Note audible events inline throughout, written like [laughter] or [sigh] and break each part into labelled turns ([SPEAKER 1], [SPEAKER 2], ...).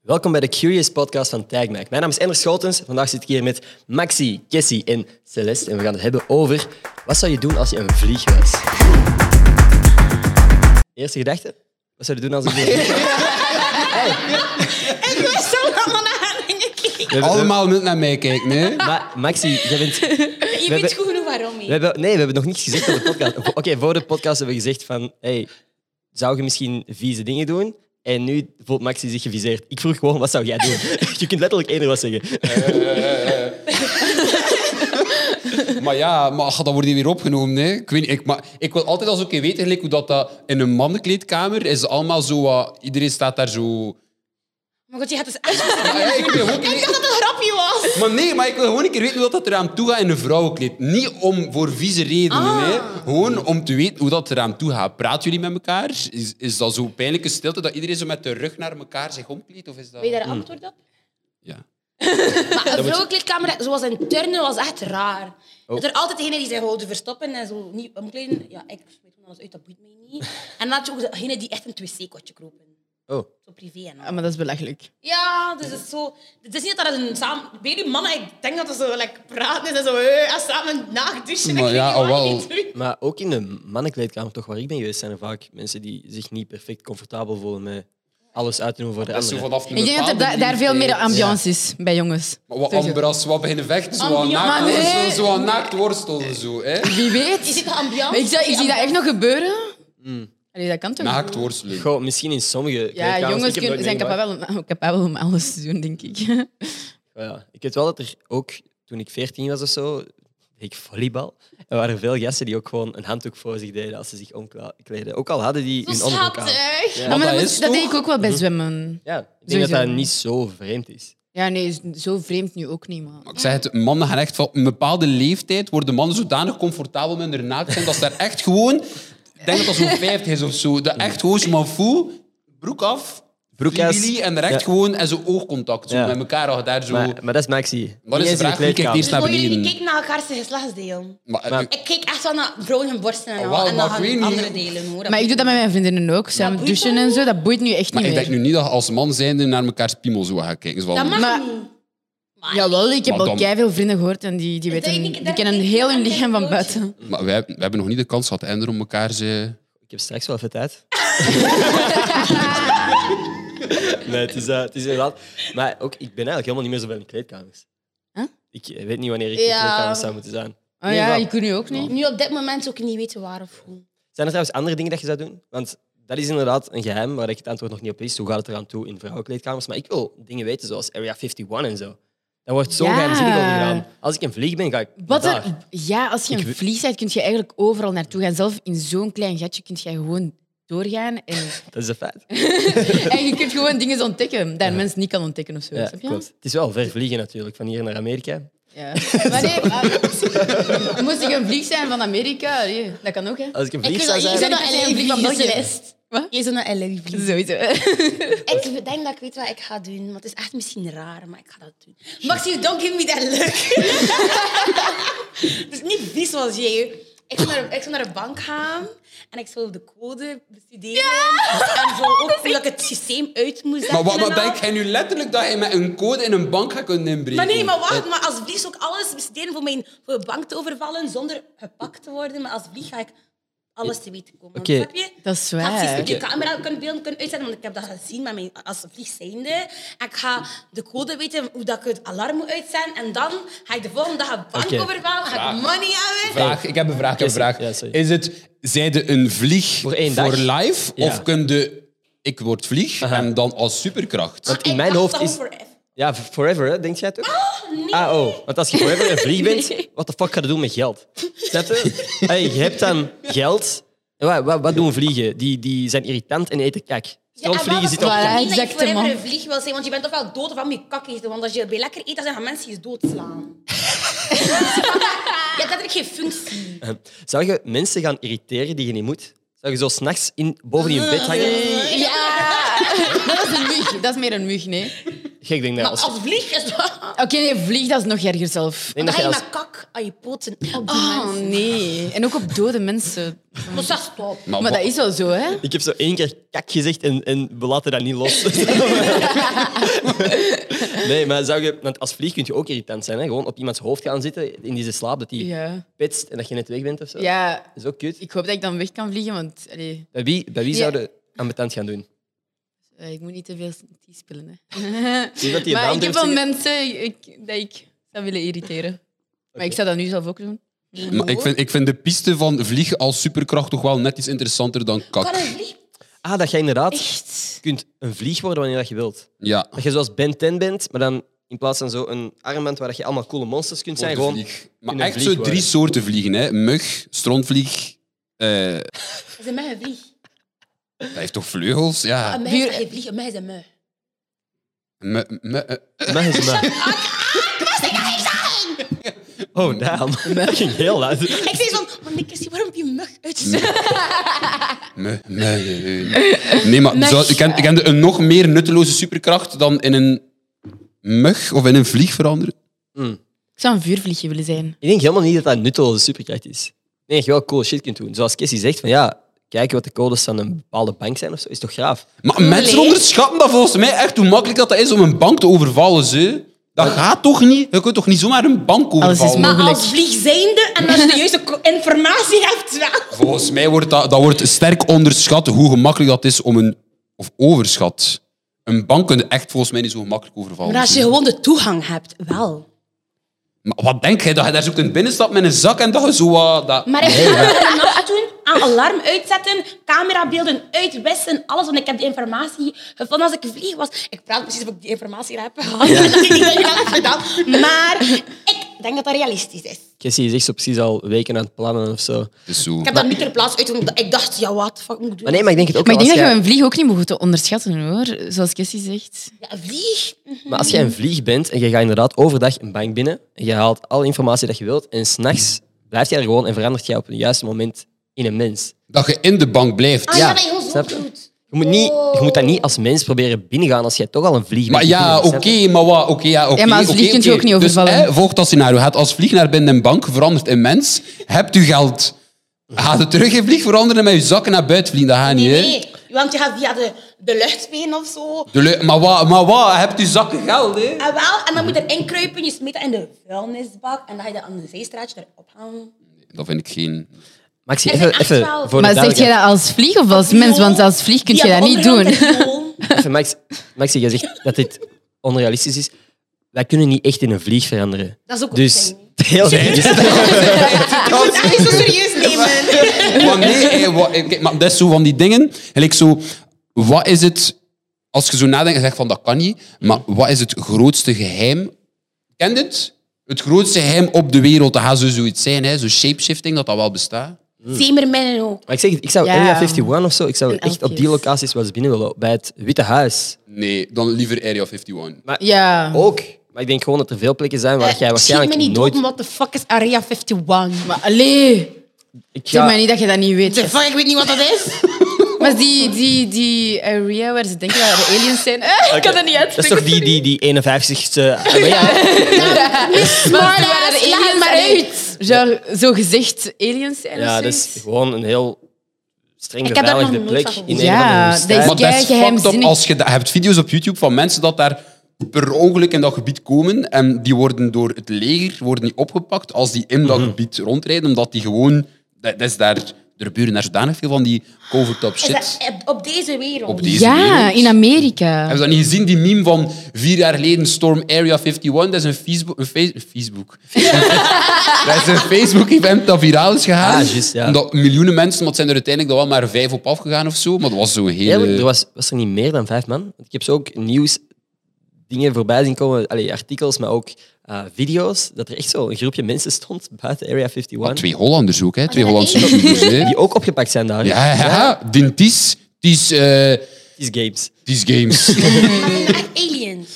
[SPEAKER 1] Welkom bij de Curious Podcast van TagMac. Mijn naam is Ender Schotens. Vandaag zit ik hier met Maxi, Jessie en Celeste. En we gaan het hebben over wat zou je doen als je een vlieg was? Eerste gedachte? Wat zou je doen als een vlieg was?
[SPEAKER 2] Ik was [laughs] zo allemaal naar haar dingen
[SPEAKER 1] We
[SPEAKER 2] kijken.
[SPEAKER 1] hebben-
[SPEAKER 3] Allemaal niet naar mij kijken, hè?
[SPEAKER 1] Ma- Maxi, jij bent...
[SPEAKER 2] Je
[SPEAKER 1] hebben-
[SPEAKER 2] weet goed genoeg waarom
[SPEAKER 1] We
[SPEAKER 2] niet.
[SPEAKER 1] hebben, nee, we hebben nog niets gezegd op de podcast. Oké, voor de podcast hebben we gezegd van... Hey, zou je misschien vieze dingen doen? En nu voelt Maxi zich geviseerd. Ik vroeg gewoon, wat zou jij doen? [laughs] Je kunt letterlijk één wat zeggen.
[SPEAKER 3] [laughs] Maar ja, maar ach, dan wordt hij weer opgenomen, hè? Ik weet niet, ik, maar ik wil altijd als oké weten gelijk hoe dat, dat in een mannenkleedkamer is allemaal zo... wat- iedereen staat daar zo...
[SPEAKER 2] Maar god, je had dus echt...
[SPEAKER 3] Ja, ja, ik wil ook
[SPEAKER 2] Ik
[SPEAKER 3] niet-
[SPEAKER 2] dacht dat het een grapje was.
[SPEAKER 3] Maar nee, maar ik wil gewoon een keer weten hoe dat eraan toe gaat in een vrouwenkleed. Niet om voor vieze redenen,
[SPEAKER 4] Ah.
[SPEAKER 3] hè. Gewoon om te weten hoe dat eraan toe gaat. Praten jullie met elkaar? Is, is dat zo pijnlijke stilte dat iedereen zo met de rug naar elkaar zich omkleedt? Of is dat...
[SPEAKER 2] Weet je daar een antwoord op?
[SPEAKER 3] Ja.
[SPEAKER 2] Maar een vrouwenkleedkamer, zoals een turner, was echt raar. Dat er altijd degene die zijn gewoon te verstoppen en zo niet omkleden. Ja, ik weet van alles uit, dat boeit mij niet. En dan had je ook degene die echt een 2C-kotje kropen.
[SPEAKER 1] Oh.
[SPEAKER 2] Zo privé en al.
[SPEAKER 4] Ja, Ah, maar dat is belachelijk.
[SPEAKER 2] Ja, dus het is zo... Het is niet dat dat een samen... Bij die mannen, ik denk dat dat zo lekker praten is en zo... eh, en samen naagdouchen.
[SPEAKER 3] Maar
[SPEAKER 2] ik
[SPEAKER 3] ja,
[SPEAKER 2] weet niet wat
[SPEAKER 3] al
[SPEAKER 2] je
[SPEAKER 3] wel.
[SPEAKER 2] doet.
[SPEAKER 1] Maar ook in de mannenkleedkamer, toch waar ik ben geweest, zijn er vaak mensen die zich niet perfect comfortabel voelen met alles uit te doen voor de
[SPEAKER 3] Dat is zo
[SPEAKER 1] anderen.
[SPEAKER 3] vanaf een
[SPEAKER 4] Ik denk dat er
[SPEAKER 3] bepaalde
[SPEAKER 4] da- daar veel meer
[SPEAKER 3] leeftijd.
[SPEAKER 4] ambiance is bij jongens.
[SPEAKER 3] Maar wat
[SPEAKER 4] Sowieso.
[SPEAKER 3] ambras, wat beginnen vechten, zo aan
[SPEAKER 2] Ambiance.
[SPEAKER 3] naakt
[SPEAKER 4] Maar nee.
[SPEAKER 3] worstelen, zo aan naakt worstelen, zo,
[SPEAKER 4] [laughs]
[SPEAKER 3] hè?
[SPEAKER 4] Wie
[SPEAKER 2] Je
[SPEAKER 4] weet?
[SPEAKER 2] ziet de ambiance.
[SPEAKER 4] Maar ik, zou- ik
[SPEAKER 2] die
[SPEAKER 4] zie dat echt nog gebeuren.
[SPEAKER 3] Hmm.
[SPEAKER 4] Allee, dat kan toch?
[SPEAKER 3] Naakt worstelen.
[SPEAKER 1] Goh, misschien in sommige
[SPEAKER 4] Ja,
[SPEAKER 1] kleedkamers. Ik
[SPEAKER 4] jongens
[SPEAKER 1] heb
[SPEAKER 4] kunnen,
[SPEAKER 1] dat
[SPEAKER 4] zijn
[SPEAKER 1] meegemaakt.
[SPEAKER 4] capabel, om- [laughs] capabel om alles te doen, denk ik.
[SPEAKER 1] Oh Ja, ik weet wel dat er ook, toen ik 14 was of zo, deed ik volleybal. Er waren veel gasten die ook gewoon een handdoek voor zich deden als ze zich omkleden. Ook al hadden die hun
[SPEAKER 2] Zo
[SPEAKER 1] onderbroek aan.
[SPEAKER 4] eh.
[SPEAKER 2] schattig.
[SPEAKER 1] Ja.
[SPEAKER 4] Ah, maar
[SPEAKER 3] dat
[SPEAKER 4] dat, moet-
[SPEAKER 3] is
[SPEAKER 4] dat
[SPEAKER 3] toch- Hmm.
[SPEAKER 4] denk ik ook wel bij zwemmen.
[SPEAKER 1] Ja, ik denk dat dat
[SPEAKER 4] Sowieso.
[SPEAKER 1] niet zo vreemd is.
[SPEAKER 4] Ja, nee, is zo vreemd nu ook niet, man.
[SPEAKER 3] Maar Ik zeg het, mannen gaan echt van een bepaalde leeftijd worden mannen zodanig comfortabel met hun naakt zijn dat ze daar echt gewoon, ik denk dat dat zo'n 50 is of zo, dat echt gewoon zo maar voel, broek af,
[SPEAKER 1] Broek af.
[SPEAKER 3] vliegwilie, en daar echt
[SPEAKER 1] Ja.
[SPEAKER 3] gewoon en zo oogcontact zo,
[SPEAKER 1] Ja.
[SPEAKER 3] met elkaar al daar zo.
[SPEAKER 1] Maar, maar dat is Maxi.
[SPEAKER 3] Wat is de vraag? Wie kijkt eerst
[SPEAKER 2] Dus
[SPEAKER 3] naar
[SPEAKER 2] mogen jullie
[SPEAKER 3] beneden?
[SPEAKER 2] niet kijken naar elkaars geslachtsdeel?
[SPEAKER 3] Maar,
[SPEAKER 1] Maar-
[SPEAKER 3] ik-
[SPEAKER 2] Ik kijk echt wel naar vrouwen hun borsten en al.
[SPEAKER 3] Oh,
[SPEAKER 2] en
[SPEAKER 3] Wauw,
[SPEAKER 2] dan
[SPEAKER 3] maar
[SPEAKER 2] gaan
[SPEAKER 3] ik weet niet.
[SPEAKER 2] andere delen. Hoor. Dat
[SPEAKER 4] Maar ik doe dat met mijn vriendinnen ook. Samen
[SPEAKER 2] boeit dat
[SPEAKER 4] douchen en
[SPEAKER 2] niet?
[SPEAKER 4] zo, dat boeit nu echt
[SPEAKER 3] maar
[SPEAKER 4] niet
[SPEAKER 3] ik denk
[SPEAKER 4] meer.
[SPEAKER 3] nu niet dat je als man zijnde naar elkaars piemel zo gaat kijken. Zo van-
[SPEAKER 2] Dat mag
[SPEAKER 4] Maar-
[SPEAKER 2] niet.
[SPEAKER 4] Jawel, ik heb
[SPEAKER 3] Maar
[SPEAKER 4] al
[SPEAKER 3] dan-
[SPEAKER 4] veel vrienden gehoord en die, die,
[SPEAKER 2] Dat
[SPEAKER 4] weten,
[SPEAKER 2] ik niet-
[SPEAKER 4] die
[SPEAKER 2] dat
[SPEAKER 4] kennen
[SPEAKER 2] ik niet
[SPEAKER 4] heel hun
[SPEAKER 2] altijd
[SPEAKER 4] lichaam van
[SPEAKER 2] coach.
[SPEAKER 4] buiten.
[SPEAKER 3] maar wij, wij hebben nog niet de kans gehad, Ender, om elkaar eh, ze...
[SPEAKER 1] Ik heb straks wel veel tijd. [laughs] nee, het is, eh, het is inderdaad... Maar ook, ik ben eigenlijk helemaal niet meer zo bij de kleedkamers.
[SPEAKER 4] Huh?
[SPEAKER 1] Ik eh, weet niet wanneer ik in
[SPEAKER 2] Ja.
[SPEAKER 1] kleedkamers zou moeten zijn.
[SPEAKER 4] Oh
[SPEAKER 1] Nee,
[SPEAKER 4] ja,
[SPEAKER 1] maar-
[SPEAKER 4] ik kun nu ook niet.
[SPEAKER 2] Nu op dit moment zou ik niet weten waar of hoe.
[SPEAKER 1] Zijn er trouwens andere dingen dat je zou doen? Want dat is inderdaad een geheim waar ik het antwoord nog niet op wist. Hoe gaat het eraan toe in vrouwenkleedkamers? Maar ik wil dingen weten zoals Area 51 en zo. Daar wordt zo
[SPEAKER 4] Ja.
[SPEAKER 1] geheimzinnig over gedaan. Als ik een vlieg ben, ga ik
[SPEAKER 4] Wat
[SPEAKER 1] naar daar.
[SPEAKER 4] er, ja, als je
[SPEAKER 1] Ik
[SPEAKER 4] een
[SPEAKER 1] weet-
[SPEAKER 4] vlieg bent, kun je eigenlijk overal naartoe gaan. Zelf in zo'n klein gatje kun je gewoon doorgaan.
[SPEAKER 1] [laughs]
[SPEAKER 4] En,
[SPEAKER 1] Dat is een
[SPEAKER 4] [laughs]
[SPEAKER 1] feit.
[SPEAKER 4] en je kunt gewoon dingen ontdekken dat een mens niet kan ontdekken of zo.
[SPEAKER 1] Ja,
[SPEAKER 4] snap je?
[SPEAKER 1] klopt. Het is wel ver vliegen natuurlijk, van hier naar Amerika.
[SPEAKER 4] Ja. Maar nee,
[SPEAKER 1] [laughs]
[SPEAKER 4] ah, [laughs] moest ik een vlieg zijn van Amerika? Nee, dat kan ook, hè?
[SPEAKER 1] Als ik een
[SPEAKER 2] Ik
[SPEAKER 1] vlieg
[SPEAKER 2] wil
[SPEAKER 1] zou
[SPEAKER 2] dat
[SPEAKER 1] zijn...
[SPEAKER 2] je zo
[SPEAKER 4] zou
[SPEAKER 2] naar
[SPEAKER 4] dat
[SPEAKER 2] LA
[SPEAKER 4] een vlieg van
[SPEAKER 2] vliegen,
[SPEAKER 4] België.
[SPEAKER 2] Celeste.
[SPEAKER 4] Wat?
[SPEAKER 2] Je zo naar LA
[SPEAKER 4] [laughs]
[SPEAKER 2] vliegen.
[SPEAKER 4] Sowieso.
[SPEAKER 2] Ik denk dat ik weet wat ik ga doen. Want het is echt misschien raar, maar ik ga dat doen. Maxi, don't give me that look. [laughs] Het is niet vies zoals jij. Ik zou, naar, ik zou naar de bank gaan en ik zou de code bestuderen. En zo ook hoe dat ik het systeem uit moet zetten.
[SPEAKER 3] Maar wat,
[SPEAKER 2] en
[SPEAKER 3] wat
[SPEAKER 2] al.
[SPEAKER 3] denk jij nu letterlijk dat je met een code in een bank gaat kunnen inbreken?
[SPEAKER 2] Maar nee, maar wacht, maar als vlieg zou ik alles besteden voor mijn voor de bank te overvallen zonder gepakt te worden. Maar als vlieg ga ik alles te weten komen.
[SPEAKER 1] Oké.
[SPEAKER 2] Snap je?
[SPEAKER 4] Dat is
[SPEAKER 2] Ik ga precies
[SPEAKER 4] waar.
[SPEAKER 2] met je camera kunnen beelden kunnen uitzetten, want ik heb dat gezien met mijn, als vlieg zijnde. En ik ga de code weten hoe dat ik het alarm moet uitzetten. En dan ga ik de volgende dag een bank
[SPEAKER 1] Oké.
[SPEAKER 2] overvallen, ga ik
[SPEAKER 3] Vraag.
[SPEAKER 2] money hebben.
[SPEAKER 3] Vraag, ik heb een vraag. Ik heb een vraag.
[SPEAKER 1] Ja, sorry.
[SPEAKER 3] is het, zijde een vlieg
[SPEAKER 1] Voor
[SPEAKER 3] voor,
[SPEAKER 1] één dag?
[SPEAKER 3] life?
[SPEAKER 1] Ja.
[SPEAKER 3] Of kun je, ik word vlieg en dan als superkracht?
[SPEAKER 1] Want in
[SPEAKER 2] Ik
[SPEAKER 1] mijn
[SPEAKER 2] wacht
[SPEAKER 1] hoofd
[SPEAKER 2] dan
[SPEAKER 1] is-
[SPEAKER 2] forever.
[SPEAKER 1] Ja, forever, hè? denk jij het ook?
[SPEAKER 2] Nee.
[SPEAKER 1] Ah, oh. Want als je forever een vlieg
[SPEAKER 2] [laughs]
[SPEAKER 1] bent, wat de fuck ga je doen met geld? Snap je? Hey, je hebt dan geld. En Wat, wat, wat doen vliegen? Die, die zijn irritant en eten kak.
[SPEAKER 2] Ja, en
[SPEAKER 1] Stroomvliegen
[SPEAKER 2] wat
[SPEAKER 1] zitten op
[SPEAKER 2] als-
[SPEAKER 4] Voilà,
[SPEAKER 1] kak.
[SPEAKER 2] niet dat je
[SPEAKER 4] exact,
[SPEAKER 2] forever
[SPEAKER 4] man.
[SPEAKER 2] een vlieg wil zijn, want je bent toch wel dood of aan je kak eten. Want als je bij lekker eet, dan gaan mensen je doodslaan. ja, dat heb ik geen functie.
[SPEAKER 1] Zou je mensen gaan irriteren die je niet moet? Zou je zo s'nachts in, boven in je bed hangen?
[SPEAKER 4] Ja! Dat is een mug. Dat is meer een mug, nee.
[SPEAKER 1] Gek denk dat
[SPEAKER 2] Maar
[SPEAKER 1] als...
[SPEAKER 2] als vlieg is dat...
[SPEAKER 4] Oké, nee, vlieg, dat is nog erger zelf.
[SPEAKER 1] Ik denk
[SPEAKER 2] Dan
[SPEAKER 1] dat
[SPEAKER 2] ga
[SPEAKER 1] je
[SPEAKER 2] je
[SPEAKER 1] als...
[SPEAKER 2] met kak aan je poten Ah, op die
[SPEAKER 1] Ah,
[SPEAKER 4] Oh,
[SPEAKER 2] mensen.
[SPEAKER 4] nee. En ook op dode mensen.
[SPEAKER 2] Dus dat is top.
[SPEAKER 4] Maar dat
[SPEAKER 3] wa-
[SPEAKER 4] is wel zo, hè?
[SPEAKER 2] [laughs]
[SPEAKER 1] Ik heb zo één keer kak gezegd en, en we laten dat niet los. Nee, maar zou je, want als vlieg kun je ook irritant zijn. Hè? Gewoon op iemands hoofd gaan zitten in deze slaap, dat hij
[SPEAKER 4] Ja.
[SPEAKER 1] pitst en dat je net weg bent of zo.
[SPEAKER 4] ja,
[SPEAKER 1] Dat is ook kut.
[SPEAKER 4] ik hoop dat ik dan weg kan vliegen, want allee,
[SPEAKER 1] Bij wie, bij wie
[SPEAKER 4] Ja.
[SPEAKER 1] zouden ambetant gaan doen?
[SPEAKER 4] eh, ik moet niet te veel tea spillen. Hè.
[SPEAKER 1] Is dat die een
[SPEAKER 4] maar
[SPEAKER 1] naam
[SPEAKER 4] ik heb
[SPEAKER 1] durft
[SPEAKER 4] wel
[SPEAKER 1] te-
[SPEAKER 4] mensen ik, dat ik zou willen irriteren. Maar ik zou dat nu zelf ook doen.
[SPEAKER 3] Maar ik vind, ik vind de piste van vliegen als superkracht toch wel net iets interessanter dan
[SPEAKER 2] Kan een
[SPEAKER 3] kak.
[SPEAKER 2] vlieg?
[SPEAKER 1] Ah, dat je inderdaad
[SPEAKER 2] Echt?
[SPEAKER 1] kunt een vlieg worden wanneer dat je wilt.
[SPEAKER 3] Ja.
[SPEAKER 1] Dat je zoals Ben 10 bent, maar dan in plaats van zo'n armband waar dat je allemaal coole monsters kunt zijn, gewoon...
[SPEAKER 3] Vlieg. Maar
[SPEAKER 1] in een
[SPEAKER 3] echt
[SPEAKER 1] vlieg
[SPEAKER 3] zo drie
[SPEAKER 1] worden.
[SPEAKER 3] soorten vliegen. Hè. Mug, strontvlieg. eh,
[SPEAKER 2] Is een mug een vlieg?
[SPEAKER 3] dat heeft toch vleugels? Ja.
[SPEAKER 2] Een mug is een vlieg, een mug is een mug.
[SPEAKER 3] Me- me- eh,
[SPEAKER 1] Mag eens
[SPEAKER 4] [laughs] Ah,
[SPEAKER 1] maar. Oh, damn. Dat ging heel luid.
[SPEAKER 2] Ik zei van, maar Nick, waarom heb je mug uit?
[SPEAKER 3] me- me- eh. Nee, maar
[SPEAKER 2] Mug.
[SPEAKER 3] zou, ik, ken, ik ken een nog meer nutteloze superkracht dan in een mug of in een vlieg veranderen.
[SPEAKER 4] Ik zou een vuurvliegje willen zijn.
[SPEAKER 1] Ik denk helemaal niet dat dat een nutteloze superkracht is. Nee, dat je wel cool shit kunt doen. Zoals Cassie zegt, van ja, kijken wat de codes van een bepaalde bank zijn of zo, is toch gaaf?
[SPEAKER 3] Maar mensen onderschatten dat volgens mij echt hoe makkelijk dat, dat is om een bank te overvallen. Ze. Dat gaat toch niet? Je kunt toch niet zomaar een bank
[SPEAKER 4] is
[SPEAKER 3] overvallen?
[SPEAKER 4] mogelijk.
[SPEAKER 2] Maar als vlieg zijnde en als je de juiste co- informatie hebt, wel.
[SPEAKER 3] Volgens mij wordt dat, dat wordt sterk onderschat hoe gemakkelijk dat is om een... Of overschat. Een bank kun je echt volgens mij niet zo gemakkelijk overvallen.
[SPEAKER 2] Maar als je gewoon de toegang hebt, wel.
[SPEAKER 3] Maar wat denk jij? Dat je daar zo kunt binnenstappen met een zak en dat je zo wat... Dat...
[SPEAKER 2] Maar ik ga er nacht doen, aan alarm uitzetten, camerabeelden uitwissen, alles, want ik heb die informatie gevonden als ik vlieg was. Ik praat precies of ik die informatie heb gehad. dat [laughs] ik die dingen heb gedaan. Maar ik denk dat dat realistisch is.
[SPEAKER 1] Cassie is echt zo precies al weken aan het plannen of zo.
[SPEAKER 3] Het is zo.
[SPEAKER 2] Ik heb dat niet ter plaatse uit, omdat ik dacht, ja, wat de fuck moet ik doen?
[SPEAKER 1] Maar nee, maar ik denk het ook
[SPEAKER 4] Maar ik
[SPEAKER 1] wel.
[SPEAKER 4] denk
[SPEAKER 1] Als
[SPEAKER 4] dat je
[SPEAKER 1] jij,
[SPEAKER 4] een vlieg ook niet moet onderschatten, hoor. Zoals Cassie zegt.
[SPEAKER 2] Ja, vlieg.
[SPEAKER 1] maar als jij een vlieg bent en je gaat inderdaad overdag een bank binnen, en je haalt alle informatie dat je wilt, en s'nachts blijf jij er gewoon en verandert jij op het juiste moment in een mens.
[SPEAKER 3] Dat je in de bank blijft.
[SPEAKER 2] Ah,
[SPEAKER 1] Ja,
[SPEAKER 2] ja, dat je gewoon zo
[SPEAKER 1] snap je?
[SPEAKER 2] doet.
[SPEAKER 1] Je moet, niet, je moet dat niet als mens proberen binnengaan als jij toch al een vlieg bent.
[SPEAKER 3] Maar ja,
[SPEAKER 1] Snap
[SPEAKER 3] oké,
[SPEAKER 1] je?
[SPEAKER 3] maar wat? Oké, ja, oké,
[SPEAKER 4] Ja, maar als
[SPEAKER 3] oké,
[SPEAKER 4] vlieg kunt je
[SPEAKER 3] oké.
[SPEAKER 4] ook niet overvallen.
[SPEAKER 3] Dus, hè, volgt dat scenario. Gaat als vlieg naar binnen een bank, verandert in mens, hebt u geld. Gaat het terug in vlieg veranderen en met je zakken naar buiten vliegen? Dat gaat niet,
[SPEAKER 2] Nee,
[SPEAKER 3] hè?
[SPEAKER 2] nee, want je gaat via de, de luchtbeen of zo.
[SPEAKER 3] De leu- maar wat, maar wat? Hebt u zakken geld, hè?
[SPEAKER 2] En wel, en dan moet je erin kruipen, je smeet dat in de vuilnisbak en dan ga je dat aan de zijstraatje erop hangen.
[SPEAKER 3] Dat vind ik geen...
[SPEAKER 1] Maxi,
[SPEAKER 2] Er
[SPEAKER 1] even,
[SPEAKER 2] zijn echt
[SPEAKER 1] even
[SPEAKER 2] wel-
[SPEAKER 1] voor de
[SPEAKER 4] Maar zeg jij
[SPEAKER 1] duidelijkheid.
[SPEAKER 4] dat als vlieg of als mens? Want als vlieg kun je
[SPEAKER 2] Via
[SPEAKER 4] dat
[SPEAKER 2] de
[SPEAKER 4] niet doen. [laughs]
[SPEAKER 2] ondergrond en [laughs] gewoon.
[SPEAKER 1] Even, Max, Maxi, jij zegt dat dit onrealistisch is. Wij kunnen niet echt in een vlieg veranderen.
[SPEAKER 2] Dat is ook
[SPEAKER 1] Dus
[SPEAKER 2] opzij.
[SPEAKER 1] [laughs]
[SPEAKER 4] [laughs]
[SPEAKER 1] heel serieus.
[SPEAKER 2] Je moet dat niet zo serieus [laughs] nemen.
[SPEAKER 3] Maar nee, eh, wa- eh, kijk, maar dat is zo van die dingen. Gelijk zo, wat is het, als je zo nadenkt, zeg van dat kan niet, maar wat is het grootste geheim? Kent het? Het grootste geheim op de wereld, dat gaat zo zoiets zijn, hè? zo shapeshifting, dat dat wel bestaat.
[SPEAKER 2] Mm. Zeemerminnen ook.
[SPEAKER 1] Maar ik zeg, het, ik zou
[SPEAKER 4] Ja.
[SPEAKER 1] Area 51 of zo, ik zou
[SPEAKER 4] En
[SPEAKER 1] echt op die
[SPEAKER 4] elfjes.
[SPEAKER 1] locaties wel eens binnen willen. Bij het Witte Huis
[SPEAKER 3] Nee, dan liever Area 51.
[SPEAKER 1] Maar
[SPEAKER 4] Ja.
[SPEAKER 1] ook. Maar ik denk gewoon dat er veel plekken zijn waar jij waarschijnlijk
[SPEAKER 2] Eh, Schiet me niet
[SPEAKER 1] nooit...
[SPEAKER 2] dood, what the fuck is Area 51?
[SPEAKER 4] Maar allee,
[SPEAKER 1] ik
[SPEAKER 4] zeg
[SPEAKER 1] ga-
[SPEAKER 4] maar niet dat je dat niet weet.
[SPEAKER 2] The fuck, ik weet niet wat dat is.
[SPEAKER 4] Maar die, die, die area waar ze denken dat er aliens zijn... Eh, [laughs] Ik kan dat niet
[SPEAKER 1] Dat is
[SPEAKER 4] uitspreken.
[SPEAKER 1] toch die, die, die 51ste... Maar [laughs] ja,
[SPEAKER 4] Maar
[SPEAKER 2] Maar
[SPEAKER 4] er waren
[SPEAKER 2] laat
[SPEAKER 4] aliens
[SPEAKER 2] maar
[SPEAKER 4] allee,
[SPEAKER 2] uit.
[SPEAKER 4] Genre, zo gezegd aliens zijn
[SPEAKER 1] ja,
[SPEAKER 4] of
[SPEAKER 1] dat
[SPEAKER 4] zoiets.
[SPEAKER 1] is gewoon een heel streng
[SPEAKER 2] Ik heb daar nog
[SPEAKER 1] beveiligde
[SPEAKER 2] nooit
[SPEAKER 1] plek.
[SPEAKER 2] van
[SPEAKER 1] In een
[SPEAKER 4] gehoord. Ja,
[SPEAKER 1] ja,
[SPEAKER 4] dat
[SPEAKER 3] Maar
[SPEAKER 4] is
[SPEAKER 3] dat is fucked up
[SPEAKER 4] geheimzinnig.
[SPEAKER 3] als je, dat- je hebt video's op YouTube van mensen dat daar per ongeluk in dat gebied komen en die worden door het leger worden die opgepakt als die in dat gebied rondrijden, omdat die gewoon... Dat, dat is daar... Er gebeuren daar zodanig veel van die cover-top
[SPEAKER 2] Is
[SPEAKER 3] shit.
[SPEAKER 2] dat op- op deze wereld.
[SPEAKER 3] op deze
[SPEAKER 4] Ja,
[SPEAKER 3] wereld.
[SPEAKER 4] in Amerika.
[SPEAKER 3] Hebben ze dat niet gezien, die meme van vier jaar geleden Storm Area 51? Dat is een Facebook... Een face- een Facebook. dat is een Facebook-event dat viraal is gegaan.
[SPEAKER 1] Ah, juist, ja.
[SPEAKER 3] Omdat miljoenen mensen, want het zijn er uiteindelijk nog wel maar vijf op afgegaan of zo. Maar dat was zo'n
[SPEAKER 1] Eerlijk, er
[SPEAKER 3] hele...
[SPEAKER 1] was, was er niet meer dan vijf man. Want Ik heb zo ook nieuws, dingen voorbij zien komen, allee, artikels, maar ook eh, video's, dat er echt zo een groepje mensen stond buiten Area 51,
[SPEAKER 3] Twee Hollanders ook, hè. Twee
[SPEAKER 2] Maar dat
[SPEAKER 3] Hollandse
[SPEAKER 2] is-
[SPEAKER 3] YouTubers, hè.
[SPEAKER 1] die ook opgepakt zijn daar.
[SPEAKER 3] Ja, ja, ja. Dintis. Tis, eh,
[SPEAKER 1] These games. [laughs]
[SPEAKER 3] tis Games.
[SPEAKER 2] Maar zijn dat nou echt aliens.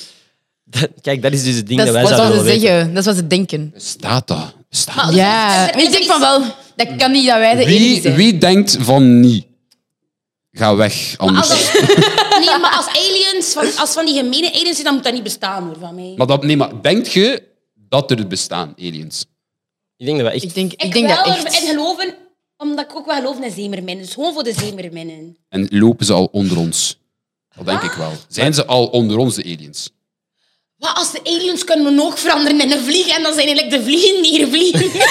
[SPEAKER 1] Dat- kijk, dat is dus het ding
[SPEAKER 4] Dat
[SPEAKER 1] dat wij
[SPEAKER 4] is wat
[SPEAKER 1] zouden
[SPEAKER 4] ze
[SPEAKER 1] willen weten.
[SPEAKER 4] zeggen. Dat is wat ze denken.
[SPEAKER 3] Staat dat? Bestaat dat?
[SPEAKER 4] Ja.
[SPEAKER 2] is er-
[SPEAKER 4] Maar ik denk van wel, dat kan niet dat wij de enige
[SPEAKER 3] Wie,
[SPEAKER 4] zijn.
[SPEAKER 3] wie denkt van niet? Ga weg,
[SPEAKER 2] Als
[SPEAKER 3] anders...
[SPEAKER 2] dat-
[SPEAKER 4] [laughs]
[SPEAKER 2] nee, maar als aliens, van, als van die gemene aliens zijn, dan moet dat niet bestaan hoor, van mij.
[SPEAKER 3] Maar, dat, nee, maar denkt je dat er bestaan, aliens?
[SPEAKER 1] Ik denk dat wij echt...
[SPEAKER 4] Ik denk, ik denk dat
[SPEAKER 2] wel erin
[SPEAKER 4] echt...
[SPEAKER 2] geloven, omdat ik ook wel geloof in zeemerminnen. Dus gewoon voor de zeemerminnen.
[SPEAKER 3] En lopen ze al onder ons? Dat denk ik wel. Zijn ze al onder ons, de aliens?
[SPEAKER 2] Wat als de aliens kunnen hun oog veranderen in een vlieg en dan zijn eigenlijk de vliegen hier vliegen?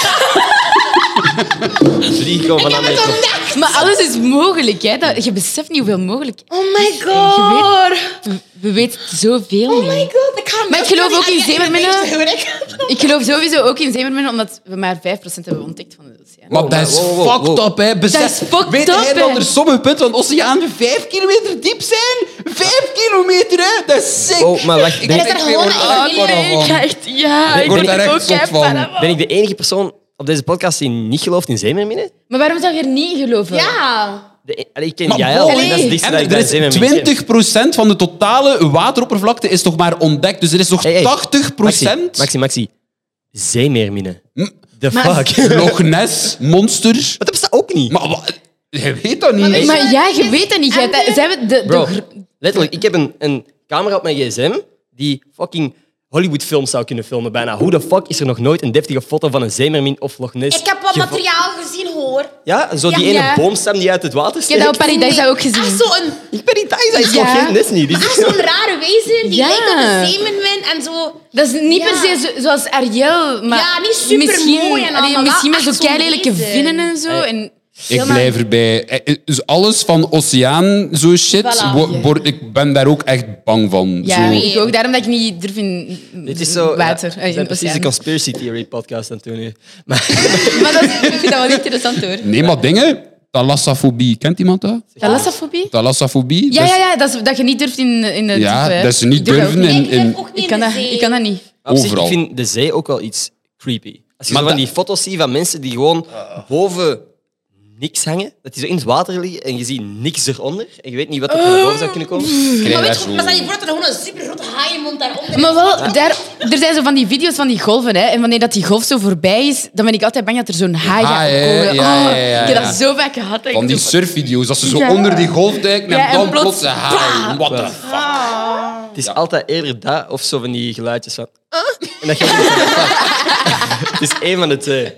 [SPEAKER 1] Vlieg gewoon van
[SPEAKER 2] Ik heb [laughs]
[SPEAKER 1] andere
[SPEAKER 2] het
[SPEAKER 1] kop.
[SPEAKER 2] ontdekt!
[SPEAKER 4] Maar alles is mogelijk. Hè? Dat, je beseft niet hoeveel mogelijk.
[SPEAKER 2] Oh my god!
[SPEAKER 4] We, we weten zoveel
[SPEAKER 2] Oh
[SPEAKER 4] niet.
[SPEAKER 2] my god, ik ga
[SPEAKER 4] Hmm. Maar ik geloof ook in zeemerminnen. [laughs]
[SPEAKER 2] Ik
[SPEAKER 4] Ik geloof sowieso ook in zeemerminnen, omdat we maar 5% hebben ontdekt van de oceaan.
[SPEAKER 3] Maar dat is
[SPEAKER 1] wow, wow,
[SPEAKER 3] fucked
[SPEAKER 1] wow.
[SPEAKER 3] up, hè. Besef,
[SPEAKER 4] Dat is fucked
[SPEAKER 3] weet
[SPEAKER 4] up,
[SPEAKER 3] jij
[SPEAKER 4] hè.
[SPEAKER 3] dat er sommige punten van de oceaan vijf kilometer diep zijn? Vijf kilometer, hè? Dat is sick.
[SPEAKER 1] Oh, maar wacht.
[SPEAKER 2] ben
[SPEAKER 1] Ben,
[SPEAKER 2] er gewoon een
[SPEAKER 3] word daar
[SPEAKER 4] Oh, ik
[SPEAKER 3] van.
[SPEAKER 4] ga echt... Ja,
[SPEAKER 3] Ik
[SPEAKER 4] ik
[SPEAKER 3] word daar
[SPEAKER 4] denk het
[SPEAKER 3] echt
[SPEAKER 4] ook,
[SPEAKER 3] zot
[SPEAKER 4] hè,
[SPEAKER 3] van.
[SPEAKER 4] Panama.
[SPEAKER 1] ben ik de enige persoon op deze podcast die niet gelooft in zeemerminnen?
[SPEAKER 4] Maar waarom zou je er niet in geloven?
[SPEAKER 2] Ja.
[SPEAKER 1] De e- Allee, ik ken
[SPEAKER 3] Maar
[SPEAKER 1] jij al,
[SPEAKER 3] wow.
[SPEAKER 1] en dat is het dichtste
[SPEAKER 3] En
[SPEAKER 1] dat ik
[SPEAKER 3] er
[SPEAKER 1] bij
[SPEAKER 3] is
[SPEAKER 1] zeemerminnen ken.
[SPEAKER 3] 20% van de totale wateroppervlakte is toch maar ontdekt. Dus er is nog
[SPEAKER 1] Hey, hey.
[SPEAKER 3] 80%.
[SPEAKER 1] Maxi, Maxi, Maxi. Zeemeerminnen.
[SPEAKER 3] Mm.
[SPEAKER 1] The
[SPEAKER 4] Maar-
[SPEAKER 1] fuck? [laughs] Maar
[SPEAKER 3] Loch Ness, monster.
[SPEAKER 1] dat bestaat ook niet.
[SPEAKER 3] Maar wat? Je weet dat niet.
[SPEAKER 4] Maar, ja, je weet dat niet. Jij-
[SPEAKER 2] En de-
[SPEAKER 4] Zij hebben de, de
[SPEAKER 1] Bro,
[SPEAKER 4] gr-
[SPEAKER 1] letterlijk, ik heb een, een camera op mijn gsm die fucking Hollywoodfilms zou kunnen filmen bijna. Hoe de fuck is er nog nooit een deftige foto van een zeemermin of Loch Ness?
[SPEAKER 2] Ik heb wat
[SPEAKER 1] gevo-
[SPEAKER 2] materiaal gezien, hoor.
[SPEAKER 1] Ja, zo die
[SPEAKER 4] Ja,
[SPEAKER 1] ene
[SPEAKER 4] ja.
[SPEAKER 1] boomstam die uit het water
[SPEAKER 4] Ik heb
[SPEAKER 1] steekt.
[SPEAKER 4] dat op Paradise
[SPEAKER 2] Nee,
[SPEAKER 4] ook gezien.
[SPEAKER 2] Echt zo'n
[SPEAKER 1] Ik ben niet thuis, hij is
[SPEAKER 4] Ja.
[SPEAKER 1] nog geen Ness niet.
[SPEAKER 2] echt zo'n rare wezen die
[SPEAKER 4] Ja.
[SPEAKER 2] lijkt op een zeemermin en zo.
[SPEAKER 4] Dat is niet
[SPEAKER 2] Ja.
[SPEAKER 4] per se zo- zoals Ariel, maar
[SPEAKER 2] Ja, niet supermooi en
[SPEAKER 4] misschien,
[SPEAKER 2] allemaal,
[SPEAKER 4] allee,
[SPEAKER 2] maar
[SPEAKER 4] misschien met zo'n
[SPEAKER 2] echt zo'n
[SPEAKER 4] keilelijke
[SPEAKER 2] wezen.
[SPEAKER 4] vinnen en zo. En
[SPEAKER 3] Ik blijf erbij. Eh, eh, dus Alles van oceaan, zo shit,
[SPEAKER 2] Voilà.
[SPEAKER 3] wo- word- ik ben daar ook echt bang van.
[SPEAKER 4] Ja,
[SPEAKER 3] Zo.
[SPEAKER 4] ik ook. Daarom dat ik niet durf in
[SPEAKER 1] Dit is zo...
[SPEAKER 4] water.
[SPEAKER 1] ja,
[SPEAKER 4] eh,
[SPEAKER 1] we
[SPEAKER 4] in
[SPEAKER 1] zijn precies een
[SPEAKER 4] oceaan.
[SPEAKER 1] conspiracy theory podcast aan het doen nu. Maar
[SPEAKER 4] Maar
[SPEAKER 1] [laughs]
[SPEAKER 4] dat, is- ik vind dat wel interessant hoor.
[SPEAKER 3] Nee, maar dingen. Thalassafobie. Kent iemand dat? Dus
[SPEAKER 4] Thalassafobie?
[SPEAKER 3] Thalassafobie?
[SPEAKER 4] Ja,
[SPEAKER 3] Dat is-
[SPEAKER 4] ja, ja. Dat, is, dat je niet durft in, in de
[SPEAKER 3] Ja,
[SPEAKER 4] diepe, hè.
[SPEAKER 3] dat ze niet
[SPEAKER 4] Ik doe dat ook
[SPEAKER 3] durven
[SPEAKER 4] niet.
[SPEAKER 3] en-
[SPEAKER 2] Nee, ik
[SPEAKER 3] en-
[SPEAKER 2] durf ook niet
[SPEAKER 4] Ik kan
[SPEAKER 2] in de
[SPEAKER 4] dat,
[SPEAKER 2] zee.
[SPEAKER 4] ik kan dat niet.
[SPEAKER 1] Op zich, ik
[SPEAKER 3] Overal.
[SPEAKER 1] vind de zee ook wel iets creepy. Als je zo
[SPEAKER 3] Maar
[SPEAKER 1] van
[SPEAKER 3] dat- Ah.
[SPEAKER 1] die foto's ziet van mensen die gewoon boven niks hangen, dat die zo in het water liggen en je ziet niks eronder en je weet niet wat er
[SPEAKER 4] Ah.
[SPEAKER 1] naar boven zou kunnen komen.
[SPEAKER 3] Krijg
[SPEAKER 2] Maar
[SPEAKER 3] daar
[SPEAKER 2] weet je,
[SPEAKER 3] zo-
[SPEAKER 2] maar stel je voor dat er gewoon een super grote haaienmond daaronder
[SPEAKER 4] Maar wel, daar, er zijn zo van die video's van die golven. Hè. En wanneer dat die golf zo voorbij is, dan ben ik altijd bang dat er zo'n haai
[SPEAKER 3] Ah,
[SPEAKER 4] gaat
[SPEAKER 3] ja,
[SPEAKER 4] komen.
[SPEAKER 3] ja, ja,
[SPEAKER 4] Oh,
[SPEAKER 3] ja,
[SPEAKER 4] Ik
[SPEAKER 3] ja.
[SPEAKER 4] heb dat zo vaak gehad. dat ik
[SPEAKER 3] Van die
[SPEAKER 4] zo-
[SPEAKER 3] surfvideo's, dat ze zo
[SPEAKER 4] Ja.
[SPEAKER 3] onder die golf duiken en
[SPEAKER 4] Ja, en
[SPEAKER 3] dan
[SPEAKER 4] plots-
[SPEAKER 3] plots een haai. What the fuck?
[SPEAKER 1] Het is altijd eerder dat of zo van die geluidjes van... "Ah." En dat gaat niet. "Ah." [laughs] Het is één van de twee.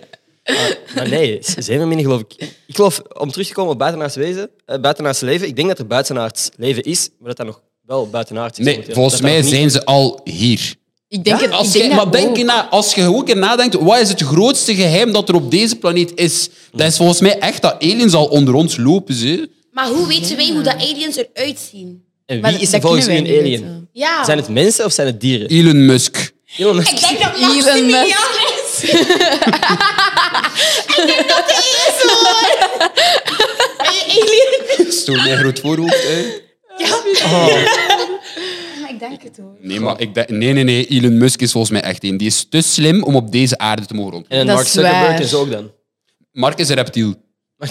[SPEAKER 1] Maar- maar nee, zeemerminnen geloof ik... Ik geloof, om terug te komen op buitenaards, wezen, eh, buitenaards leven, ik denk dat er buitenaards leven is, maar dat dat nog wel buitenaards is.
[SPEAKER 3] Nee,
[SPEAKER 1] momenteel.
[SPEAKER 3] volgens
[SPEAKER 1] Dat dat
[SPEAKER 3] mij
[SPEAKER 1] nog niet-
[SPEAKER 3] zijn ze al hier.
[SPEAKER 4] Ik denk het.
[SPEAKER 3] Als
[SPEAKER 4] ik
[SPEAKER 3] je,
[SPEAKER 4] denk
[SPEAKER 3] maar
[SPEAKER 4] dat
[SPEAKER 3] denk
[SPEAKER 4] ook.
[SPEAKER 3] je na, als je ook in nadenkt, wat is het grootste geheim dat er op deze planeet is? Dat is volgens mij echt dat aliens al onder ons lopen. Ze.
[SPEAKER 2] Maar hoe weten wij hoe dat aliens eruit zien?
[SPEAKER 1] En
[SPEAKER 4] Maar
[SPEAKER 1] wie is er
[SPEAKER 4] dat
[SPEAKER 1] volgens u
[SPEAKER 4] kunnen
[SPEAKER 1] een
[SPEAKER 4] wij niet
[SPEAKER 1] alien?
[SPEAKER 4] weten.
[SPEAKER 2] Ja.
[SPEAKER 1] Zijn het mensen of zijn het dieren?
[SPEAKER 3] Elon Musk. [laughs]
[SPEAKER 1] Elon Musk-
[SPEAKER 2] Ik denk dat
[SPEAKER 4] Elon Musk.
[SPEAKER 2] Maximilian [laughs] is. ik denk dat hij is, hoor. Ben je alien?
[SPEAKER 3] Stoor mij groot voorhoofd. Hè.
[SPEAKER 2] Maar ik denk het, hoor.
[SPEAKER 3] Nee, maar ik denk- nee, nee, nee. Elon Musk is volgens mij echt één. Die is te slim om op deze aarde te mogen rondlopen.
[SPEAKER 1] En
[SPEAKER 4] Dat
[SPEAKER 1] Mark
[SPEAKER 4] is
[SPEAKER 1] Zuckerberg
[SPEAKER 4] waar.
[SPEAKER 1] is ook
[SPEAKER 3] [laughs]
[SPEAKER 1] dan.
[SPEAKER 3] Mark is een reptiel.
[SPEAKER 2] Maar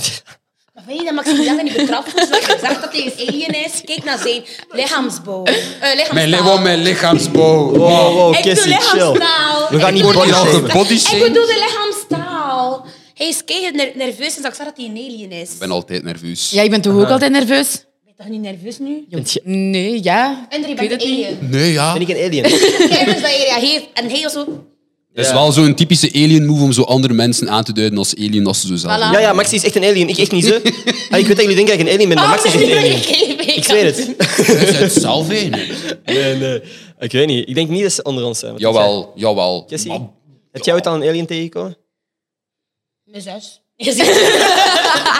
[SPEAKER 2] weet je dat Maximilian dat niet betrapt is? Dat je zegt dat hij een alien is? Kijk naar zijn lichaamsbouw. Eh, lichaamstaal.
[SPEAKER 3] Mijn lichaam, mijn lichaamsbouw.
[SPEAKER 1] Wow, wow,
[SPEAKER 2] Ik bedoel
[SPEAKER 1] Cassie, chill.
[SPEAKER 4] nou-
[SPEAKER 2] lichaamstaal.
[SPEAKER 1] We gaan
[SPEAKER 2] Ik
[SPEAKER 1] niet
[SPEAKER 2] bedoel
[SPEAKER 3] Wordt hij al
[SPEAKER 1] bodyshamen.
[SPEAKER 2] Ik
[SPEAKER 3] gebodyshamed?
[SPEAKER 2] bedoel de lichaamstaal. Hij is keihard ner- nerveus en ik zag dat hij een alien is.
[SPEAKER 3] Ik ben altijd nerveus.
[SPEAKER 4] Ja, ik ben toch ook altijd nerveus?
[SPEAKER 2] Ben je toch niet nerveus nu?
[SPEAKER 1] Bent je-
[SPEAKER 4] Nee, ja.
[SPEAKER 2] En je
[SPEAKER 4] Ik weet
[SPEAKER 2] bent een
[SPEAKER 4] het niet.
[SPEAKER 2] alien.
[SPEAKER 3] Nee, ja.
[SPEAKER 1] Ben ik een alien?
[SPEAKER 2] Kijk eens dat je reageert. En hij was zo...
[SPEAKER 3] Dat is
[SPEAKER 1] Ja.
[SPEAKER 3] wel zo'n typische alien move om zo andere mensen aan te duiden als alien als ze zo zelf.
[SPEAKER 2] Voilà.
[SPEAKER 3] doen.
[SPEAKER 1] Ja, ja, Maxi is echt een alien. Ik echt niet,
[SPEAKER 3] [laughs]
[SPEAKER 1] zo. Ah, ik weet dat jullie denken dat ik een alien ben, maar
[SPEAKER 4] Oh,
[SPEAKER 2] Oh,
[SPEAKER 1] Maxi
[SPEAKER 2] [laughs]
[SPEAKER 1] is echt een alien. Ik zweer het.
[SPEAKER 3] Dat is uit zelf heen.
[SPEAKER 1] Nee, nee. Ik weet niet. Ik denk niet dat ze onder ons zijn. Wat
[SPEAKER 3] Jawel, jawel.
[SPEAKER 1] denk jij?
[SPEAKER 3] Maar-
[SPEAKER 1] Jessie, heb jij ooit al een alien tegengekomen?
[SPEAKER 2] Mijn zus. Je ziet-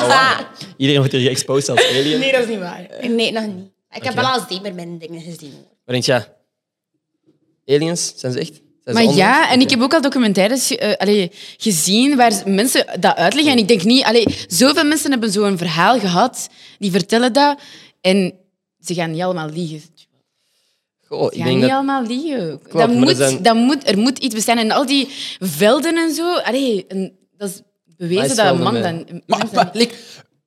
[SPEAKER 1] Ah, Iedereen wordt hier geëxposed als alien.
[SPEAKER 2] [laughs] Nee, dat is niet waar. Nee, nog niet. Ik heb wel al zeker mijn dingen gezien. hoor.
[SPEAKER 1] Maar denk je, ja, aliens, zijn ze echt? Zijn ze
[SPEAKER 4] Maar
[SPEAKER 1] onder ons?
[SPEAKER 4] ja, en ik
[SPEAKER 1] Oké.
[SPEAKER 4] heb ook al documentaires eh, allee, gezien waar z- mensen dat uitleggen. En ik denk niet, allee, zoveel mensen hebben zo'n verhaal gehad, die vertellen dat. En ze gaan niet allemaal liegen.
[SPEAKER 1] Goh,
[SPEAKER 4] Ze
[SPEAKER 1] ik
[SPEAKER 4] gaan
[SPEAKER 1] denk
[SPEAKER 4] niet
[SPEAKER 1] dat...
[SPEAKER 4] allemaal liegen. ook.
[SPEAKER 1] Klopt,
[SPEAKER 4] dat
[SPEAKER 1] maar
[SPEAKER 4] moet,
[SPEAKER 1] er zijn-
[SPEAKER 4] dat moet, er moet iets bestaan. En al die velden en zo, allee, en dat is bewezen dat een
[SPEAKER 1] Maisvelden,
[SPEAKER 4] man
[SPEAKER 1] hè.
[SPEAKER 4] dan.
[SPEAKER 3] Maar,
[SPEAKER 4] mensen-
[SPEAKER 3] maar, like,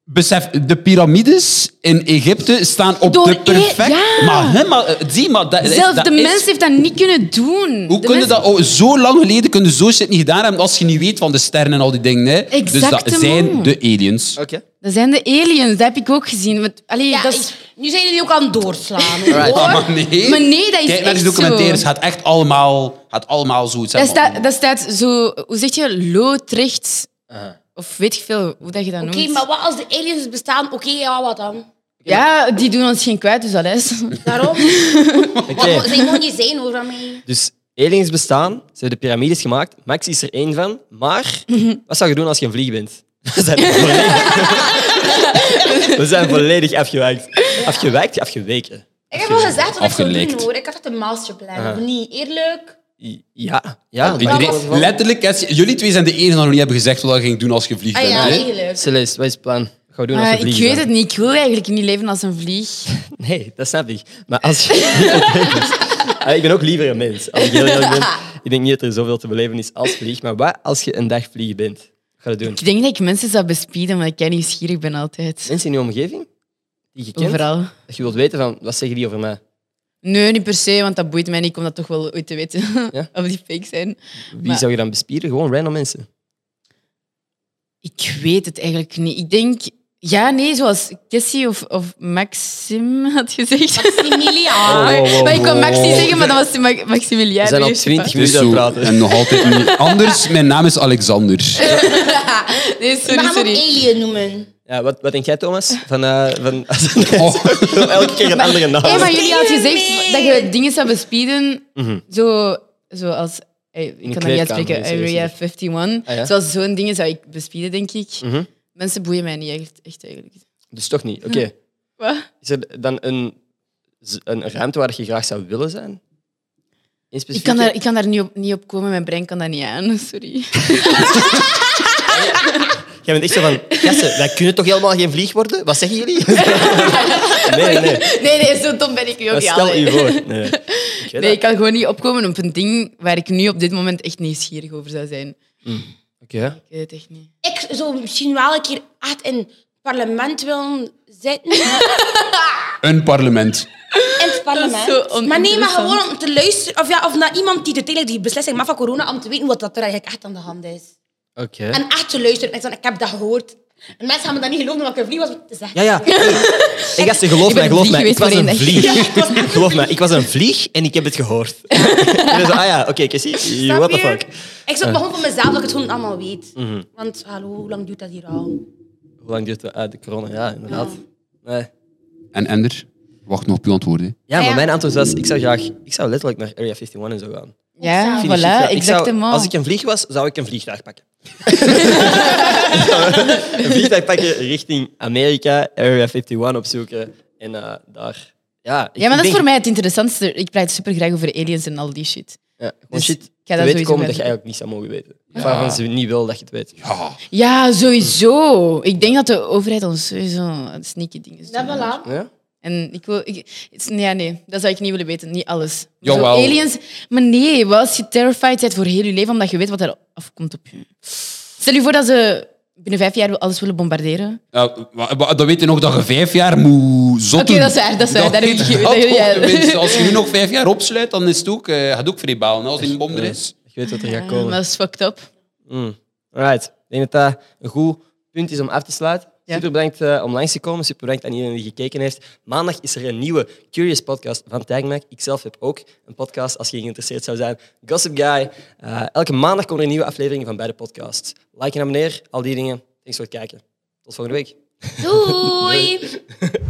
[SPEAKER 3] besef, de piramides in Egypte staan op
[SPEAKER 4] Door
[SPEAKER 3] de perfect...
[SPEAKER 4] e- ja.
[SPEAKER 3] Maar, hè, maar eh, zie, maar dat, is-
[SPEAKER 4] Zelfs
[SPEAKER 3] dat
[SPEAKER 4] de
[SPEAKER 3] is-
[SPEAKER 4] mens heeft dat niet kunnen doen.
[SPEAKER 3] Hoe
[SPEAKER 4] De
[SPEAKER 3] kunnen
[SPEAKER 4] mens-
[SPEAKER 3] dat oh, zo lang geleden kunnen zo shit niet gedaan hebben als je niet weet van de sterren en al die dingen? Hè? Dus dat
[SPEAKER 4] Exactement.
[SPEAKER 3] zijn de aliens.
[SPEAKER 1] Oké.
[SPEAKER 4] Dat zijn de aliens, dat heb ik ook gezien. Want, allee,
[SPEAKER 2] Ja,
[SPEAKER 4] dat is...
[SPEAKER 2] ik- nu zijn jullie ook aan het doorslaan. hoor.
[SPEAKER 1] Alright.
[SPEAKER 3] Ah, maar nee.
[SPEAKER 4] Maar nee, dat is
[SPEAKER 3] Kijk naar die
[SPEAKER 4] echt
[SPEAKER 3] documentaires.
[SPEAKER 4] zo.
[SPEAKER 3] Het gaat echt allemaal, gaat allemaal zoiets
[SPEAKER 4] Dat
[SPEAKER 3] hebben.
[SPEAKER 4] staat, dat staat zo, hoe zeg je, loodrecht. Of weet ik veel hoe dat je dat
[SPEAKER 2] Oké,
[SPEAKER 4] noemt.
[SPEAKER 2] maar wat als de aliens bestaan? Oké, ja, wat dan?
[SPEAKER 4] Ja, die doen ons geen kwijt, dus dat is.
[SPEAKER 1] [laughs]
[SPEAKER 2] Daarom.
[SPEAKER 1] Oké.
[SPEAKER 2] Ze mogen niet zijn hoor van mij.
[SPEAKER 1] Dus aliens bestaan, ze hebben de piramides gemaakt. Max is er één van. Maar
[SPEAKER 4] Mhm.
[SPEAKER 1] wat zou je doen als je een vlieg bent? [laughs] We zijn volledig, we zijn volledig afgewijkt. Afgewijkt? Afgeweken.
[SPEAKER 2] Ik heb al gezegd wat ik zou doen
[SPEAKER 3] Afgelekt.
[SPEAKER 2] hoor. Ik had echt een masterplan.
[SPEAKER 1] Ah.
[SPEAKER 2] Of niet? Eerlijk?
[SPEAKER 1] Ja. ja
[SPEAKER 3] Iedereen- letterlijk, als je- jullie twee zijn de enige die nog niet hebben gezegd wat je ging doen als je vliegt.
[SPEAKER 2] Ah
[SPEAKER 3] bent,
[SPEAKER 2] ja,
[SPEAKER 3] hè?
[SPEAKER 2] eerlijk.
[SPEAKER 1] Celeste, wat is het plan? Wat gaan we doen als
[SPEAKER 4] Eh,
[SPEAKER 1] we
[SPEAKER 4] ik
[SPEAKER 1] vliegen?
[SPEAKER 4] weet het niet. Ik wil eigenlijk niet leven als een
[SPEAKER 1] [laughs]
[SPEAKER 4] vlieg.
[SPEAKER 1] niet. Nee, dat snap ik. Maar als je... [laughs] Ah, ik ben ook liever een mens. Als ik heel eerlijk ben. Ik denk niet dat er zoveel te beleven is als vlieg. Maar wat als je een dag vlieg bent? Wat ga je doen?
[SPEAKER 4] Ik denk dat ik mensen zou bespieden, omdat ik kei nieuwsgierig ben altijd.
[SPEAKER 1] Mensen in je omgeving? Die je kent?
[SPEAKER 4] Overal.
[SPEAKER 1] Dat je wilt weten van, wat zeggen die over mij?
[SPEAKER 4] Nee, niet per se, want dat boeit mij niet. Ik kom dat toch wel ooit te weten.
[SPEAKER 1] Ja?
[SPEAKER 4] [laughs] of die fake zijn.
[SPEAKER 1] Wie
[SPEAKER 4] Maar-
[SPEAKER 1] zou je dan bespieden? Gewoon random mensen.
[SPEAKER 4] Ik weet het eigenlijk niet. Ik denk... Ja, nee, zoals Cassie of, of Maxim had gezegd.
[SPEAKER 2] Maximiliaan.
[SPEAKER 1] wow, wow,
[SPEAKER 4] maar ik kon Maxi
[SPEAKER 1] wow.
[SPEAKER 4] zeggen, maar dat was Ma- Maximiliaan.
[SPEAKER 1] We zijn al
[SPEAKER 4] weet je wel.
[SPEAKER 1] 20
[SPEAKER 3] Het is
[SPEAKER 1] minuten aan het
[SPEAKER 3] Dus zo.
[SPEAKER 1] praten.
[SPEAKER 3] En nog altijd niet anders. Mijn naam is Alexander.
[SPEAKER 4] [laughs] Nee,
[SPEAKER 2] We
[SPEAKER 4] sorry,
[SPEAKER 2] gaan hem ook
[SPEAKER 4] sorry.
[SPEAKER 2] alien noemen.
[SPEAKER 1] Ja, wat, wat denk jij,
[SPEAKER 4] [laughs]
[SPEAKER 1] Thomas? Van, eh, van,
[SPEAKER 3] Oh.
[SPEAKER 1] [laughs] elke keer een andere naam.
[SPEAKER 4] Hey, maar jullie had
[SPEAKER 2] Spieden mee.
[SPEAKER 4] gezegd dat je dingen zou bespieden, zo, zoals... eh, Ik kan dat
[SPEAKER 1] Mhm.
[SPEAKER 4] niet
[SPEAKER 1] kleedkamer,
[SPEAKER 4] uitspreken.
[SPEAKER 1] is er iets
[SPEAKER 4] Area
[SPEAKER 1] over.
[SPEAKER 4] 51.
[SPEAKER 1] Ah, ja? Mhm.
[SPEAKER 4] Zoals zo'n dingen zou ik bespieden, denk ik. Mensen boeien mij niet echt, echt eigenlijk.
[SPEAKER 1] Dus toch niet. Oké.
[SPEAKER 4] Hm. Wat?
[SPEAKER 1] Is er dan een, z- een ruimte waar je graag zou willen zijn? In
[SPEAKER 4] Ik
[SPEAKER 1] specifiek?
[SPEAKER 4] kan daar, ik kan daar niet, op, niet op komen, mijn brein kan dat niet aan, [laughs] sorry.
[SPEAKER 1] Jij bent echt zo van, gasten, wij kunnen toch helemaal geen vlieg worden? Wat zeggen jullie? [laughs] nee, nee.
[SPEAKER 4] Nee, nee, zo dom ben ik nu
[SPEAKER 1] Maar
[SPEAKER 4] ook niet.
[SPEAKER 1] stel
[SPEAKER 4] [laughs] allee.
[SPEAKER 1] u [laughs] voor. Nee. Ik weet
[SPEAKER 4] Nee,
[SPEAKER 1] dat.
[SPEAKER 4] ik kan gewoon niet opkomen op een ding waar ik nu op dit moment echt nieuwsgierig over zou zijn.
[SPEAKER 1] Oké.
[SPEAKER 4] Ik weet het echt niet.
[SPEAKER 2] Ik zou misschien wel een keer echt in het parlement willen zitten.
[SPEAKER 4] [laughs]
[SPEAKER 3] Een parlement.
[SPEAKER 2] in het parlement.
[SPEAKER 4] Dat is
[SPEAKER 2] maar
[SPEAKER 4] zo
[SPEAKER 2] nee, maar
[SPEAKER 4] oninteressant.
[SPEAKER 2] gewoon om te luisteren. Of, ja, of naar iemand die uiteindelijk die beslissing maakt van corona, om te weten wat dat er eigenlijk echt aan de hand is.
[SPEAKER 1] Oké.
[SPEAKER 2] En echt te luisteren. En ik zeg, ik heb dat gehoord. En mensen gaan me dat niet geloven, omdat ik een vlieg was om te
[SPEAKER 1] Ja,
[SPEAKER 2] zeggen.
[SPEAKER 1] [laughs] ja. Hey, gasten, geloof
[SPEAKER 4] Ik ben
[SPEAKER 1] mij,
[SPEAKER 4] een
[SPEAKER 1] geloof
[SPEAKER 4] vlieg
[SPEAKER 1] mij. Ik
[SPEAKER 4] geweest
[SPEAKER 1] was
[SPEAKER 4] voor
[SPEAKER 1] een
[SPEAKER 4] één dag.
[SPEAKER 1] vlieg. [laughs] Geloof mij, ik was een vlieg en ik heb het gehoord. [laughs] En dan zo, ah ja, oké, Cassie,
[SPEAKER 2] Snap
[SPEAKER 1] what the
[SPEAKER 2] je?
[SPEAKER 1] fuck. Mhm.
[SPEAKER 2] Ik zou gewoon voor mezelf dat ik het gewoon allemaal weet. Want hallo, hoe lang duurt dat hier al?
[SPEAKER 1] Hoe lang duurt de, ah, de corona? Ja, inderdaad. Nee.
[SPEAKER 3] En Ender, wacht nog op uw antwoord. hè.
[SPEAKER 1] Ja, maar
[SPEAKER 2] Ja.
[SPEAKER 1] mijn antwoord was, ik zou graag, ik zou letterlijk naar Area 51 en zo gaan.
[SPEAKER 4] Ja,
[SPEAKER 1] Vind ik shit, ja. Ik
[SPEAKER 4] Ah, voilà,
[SPEAKER 1] zou-
[SPEAKER 4] exactement.
[SPEAKER 1] Als ik een vlieg was, zou ik een vliegtuig pakken. [laughs] een vliegtuig pakken richting Amerika, Area 51 opzoeken en eh, daar. Ja, ik
[SPEAKER 4] Ja, maar dat is
[SPEAKER 1] denk-
[SPEAKER 4] voor mij het interessantste. Ik praat super graag over aliens en al die shit.
[SPEAKER 1] Ja, gewoon
[SPEAKER 4] Dus
[SPEAKER 1] shit,
[SPEAKER 4] ik ga
[SPEAKER 1] te
[SPEAKER 4] dat
[SPEAKER 1] weten
[SPEAKER 4] sowieso
[SPEAKER 1] komen dat je
[SPEAKER 4] weten.
[SPEAKER 1] eigenlijk niet zou mogen weten. Waarvan ze niet wil dat je het weet.
[SPEAKER 3] Ja.
[SPEAKER 4] Ja, sowieso. Ik denk dat de overheid ons sowieso sneaky dingen doet.
[SPEAKER 2] Dat voilà.
[SPEAKER 1] Ja?
[SPEAKER 4] En ik wil... Ik, het is- nee, ja, nee, dat zou ik niet willen weten. Niet alles. Maar zo
[SPEAKER 3] Jawel.
[SPEAKER 4] aliens... Maar nee, wat als je terrified bent voor heel je leven, omdat je weet wat er afkomt op je. Stel je voor dat ze binnen vijf jaar alles willen bombarderen.
[SPEAKER 3] Ja, wa- Eh, wa- dan weet je nog dat je vijf jaar moet zot
[SPEAKER 4] Oké,
[SPEAKER 3] doen.
[SPEAKER 4] dat is waar, dat is waar. Daar heb ik
[SPEAKER 3] weet
[SPEAKER 4] geen-
[SPEAKER 3] dat
[SPEAKER 4] daar heb ik-
[SPEAKER 3] ook,
[SPEAKER 4] ja.
[SPEAKER 3] mensen. Als je nu nog vijf jaar opsluit, dan is het ook, eh, gaat ook vrij balen hè, als die een bom er is.
[SPEAKER 1] Je weet wat er gaat
[SPEAKER 4] Ja,
[SPEAKER 1] komen.
[SPEAKER 4] maar dat is fucked up.
[SPEAKER 1] Mm. Alright. Ik denk dat dat een goed punt is om af te sluiten.
[SPEAKER 4] Ja.
[SPEAKER 1] Super bedankt eh, om langs te komen. Super bedankt aan iedereen die gekeken heeft. Maandag is er een nieuwe Curious podcast van Tijgmaak. Ik zelf heb ook een podcast, als je geïnteresseerd zou zijn. Gossip Guy. Eh, elke maandag komen er nieuwe afleveringen van beide podcasts. [laughs] Like en abonneer, al die dingen. Thanks voor het kijken. Tot volgende week.
[SPEAKER 2] Doei!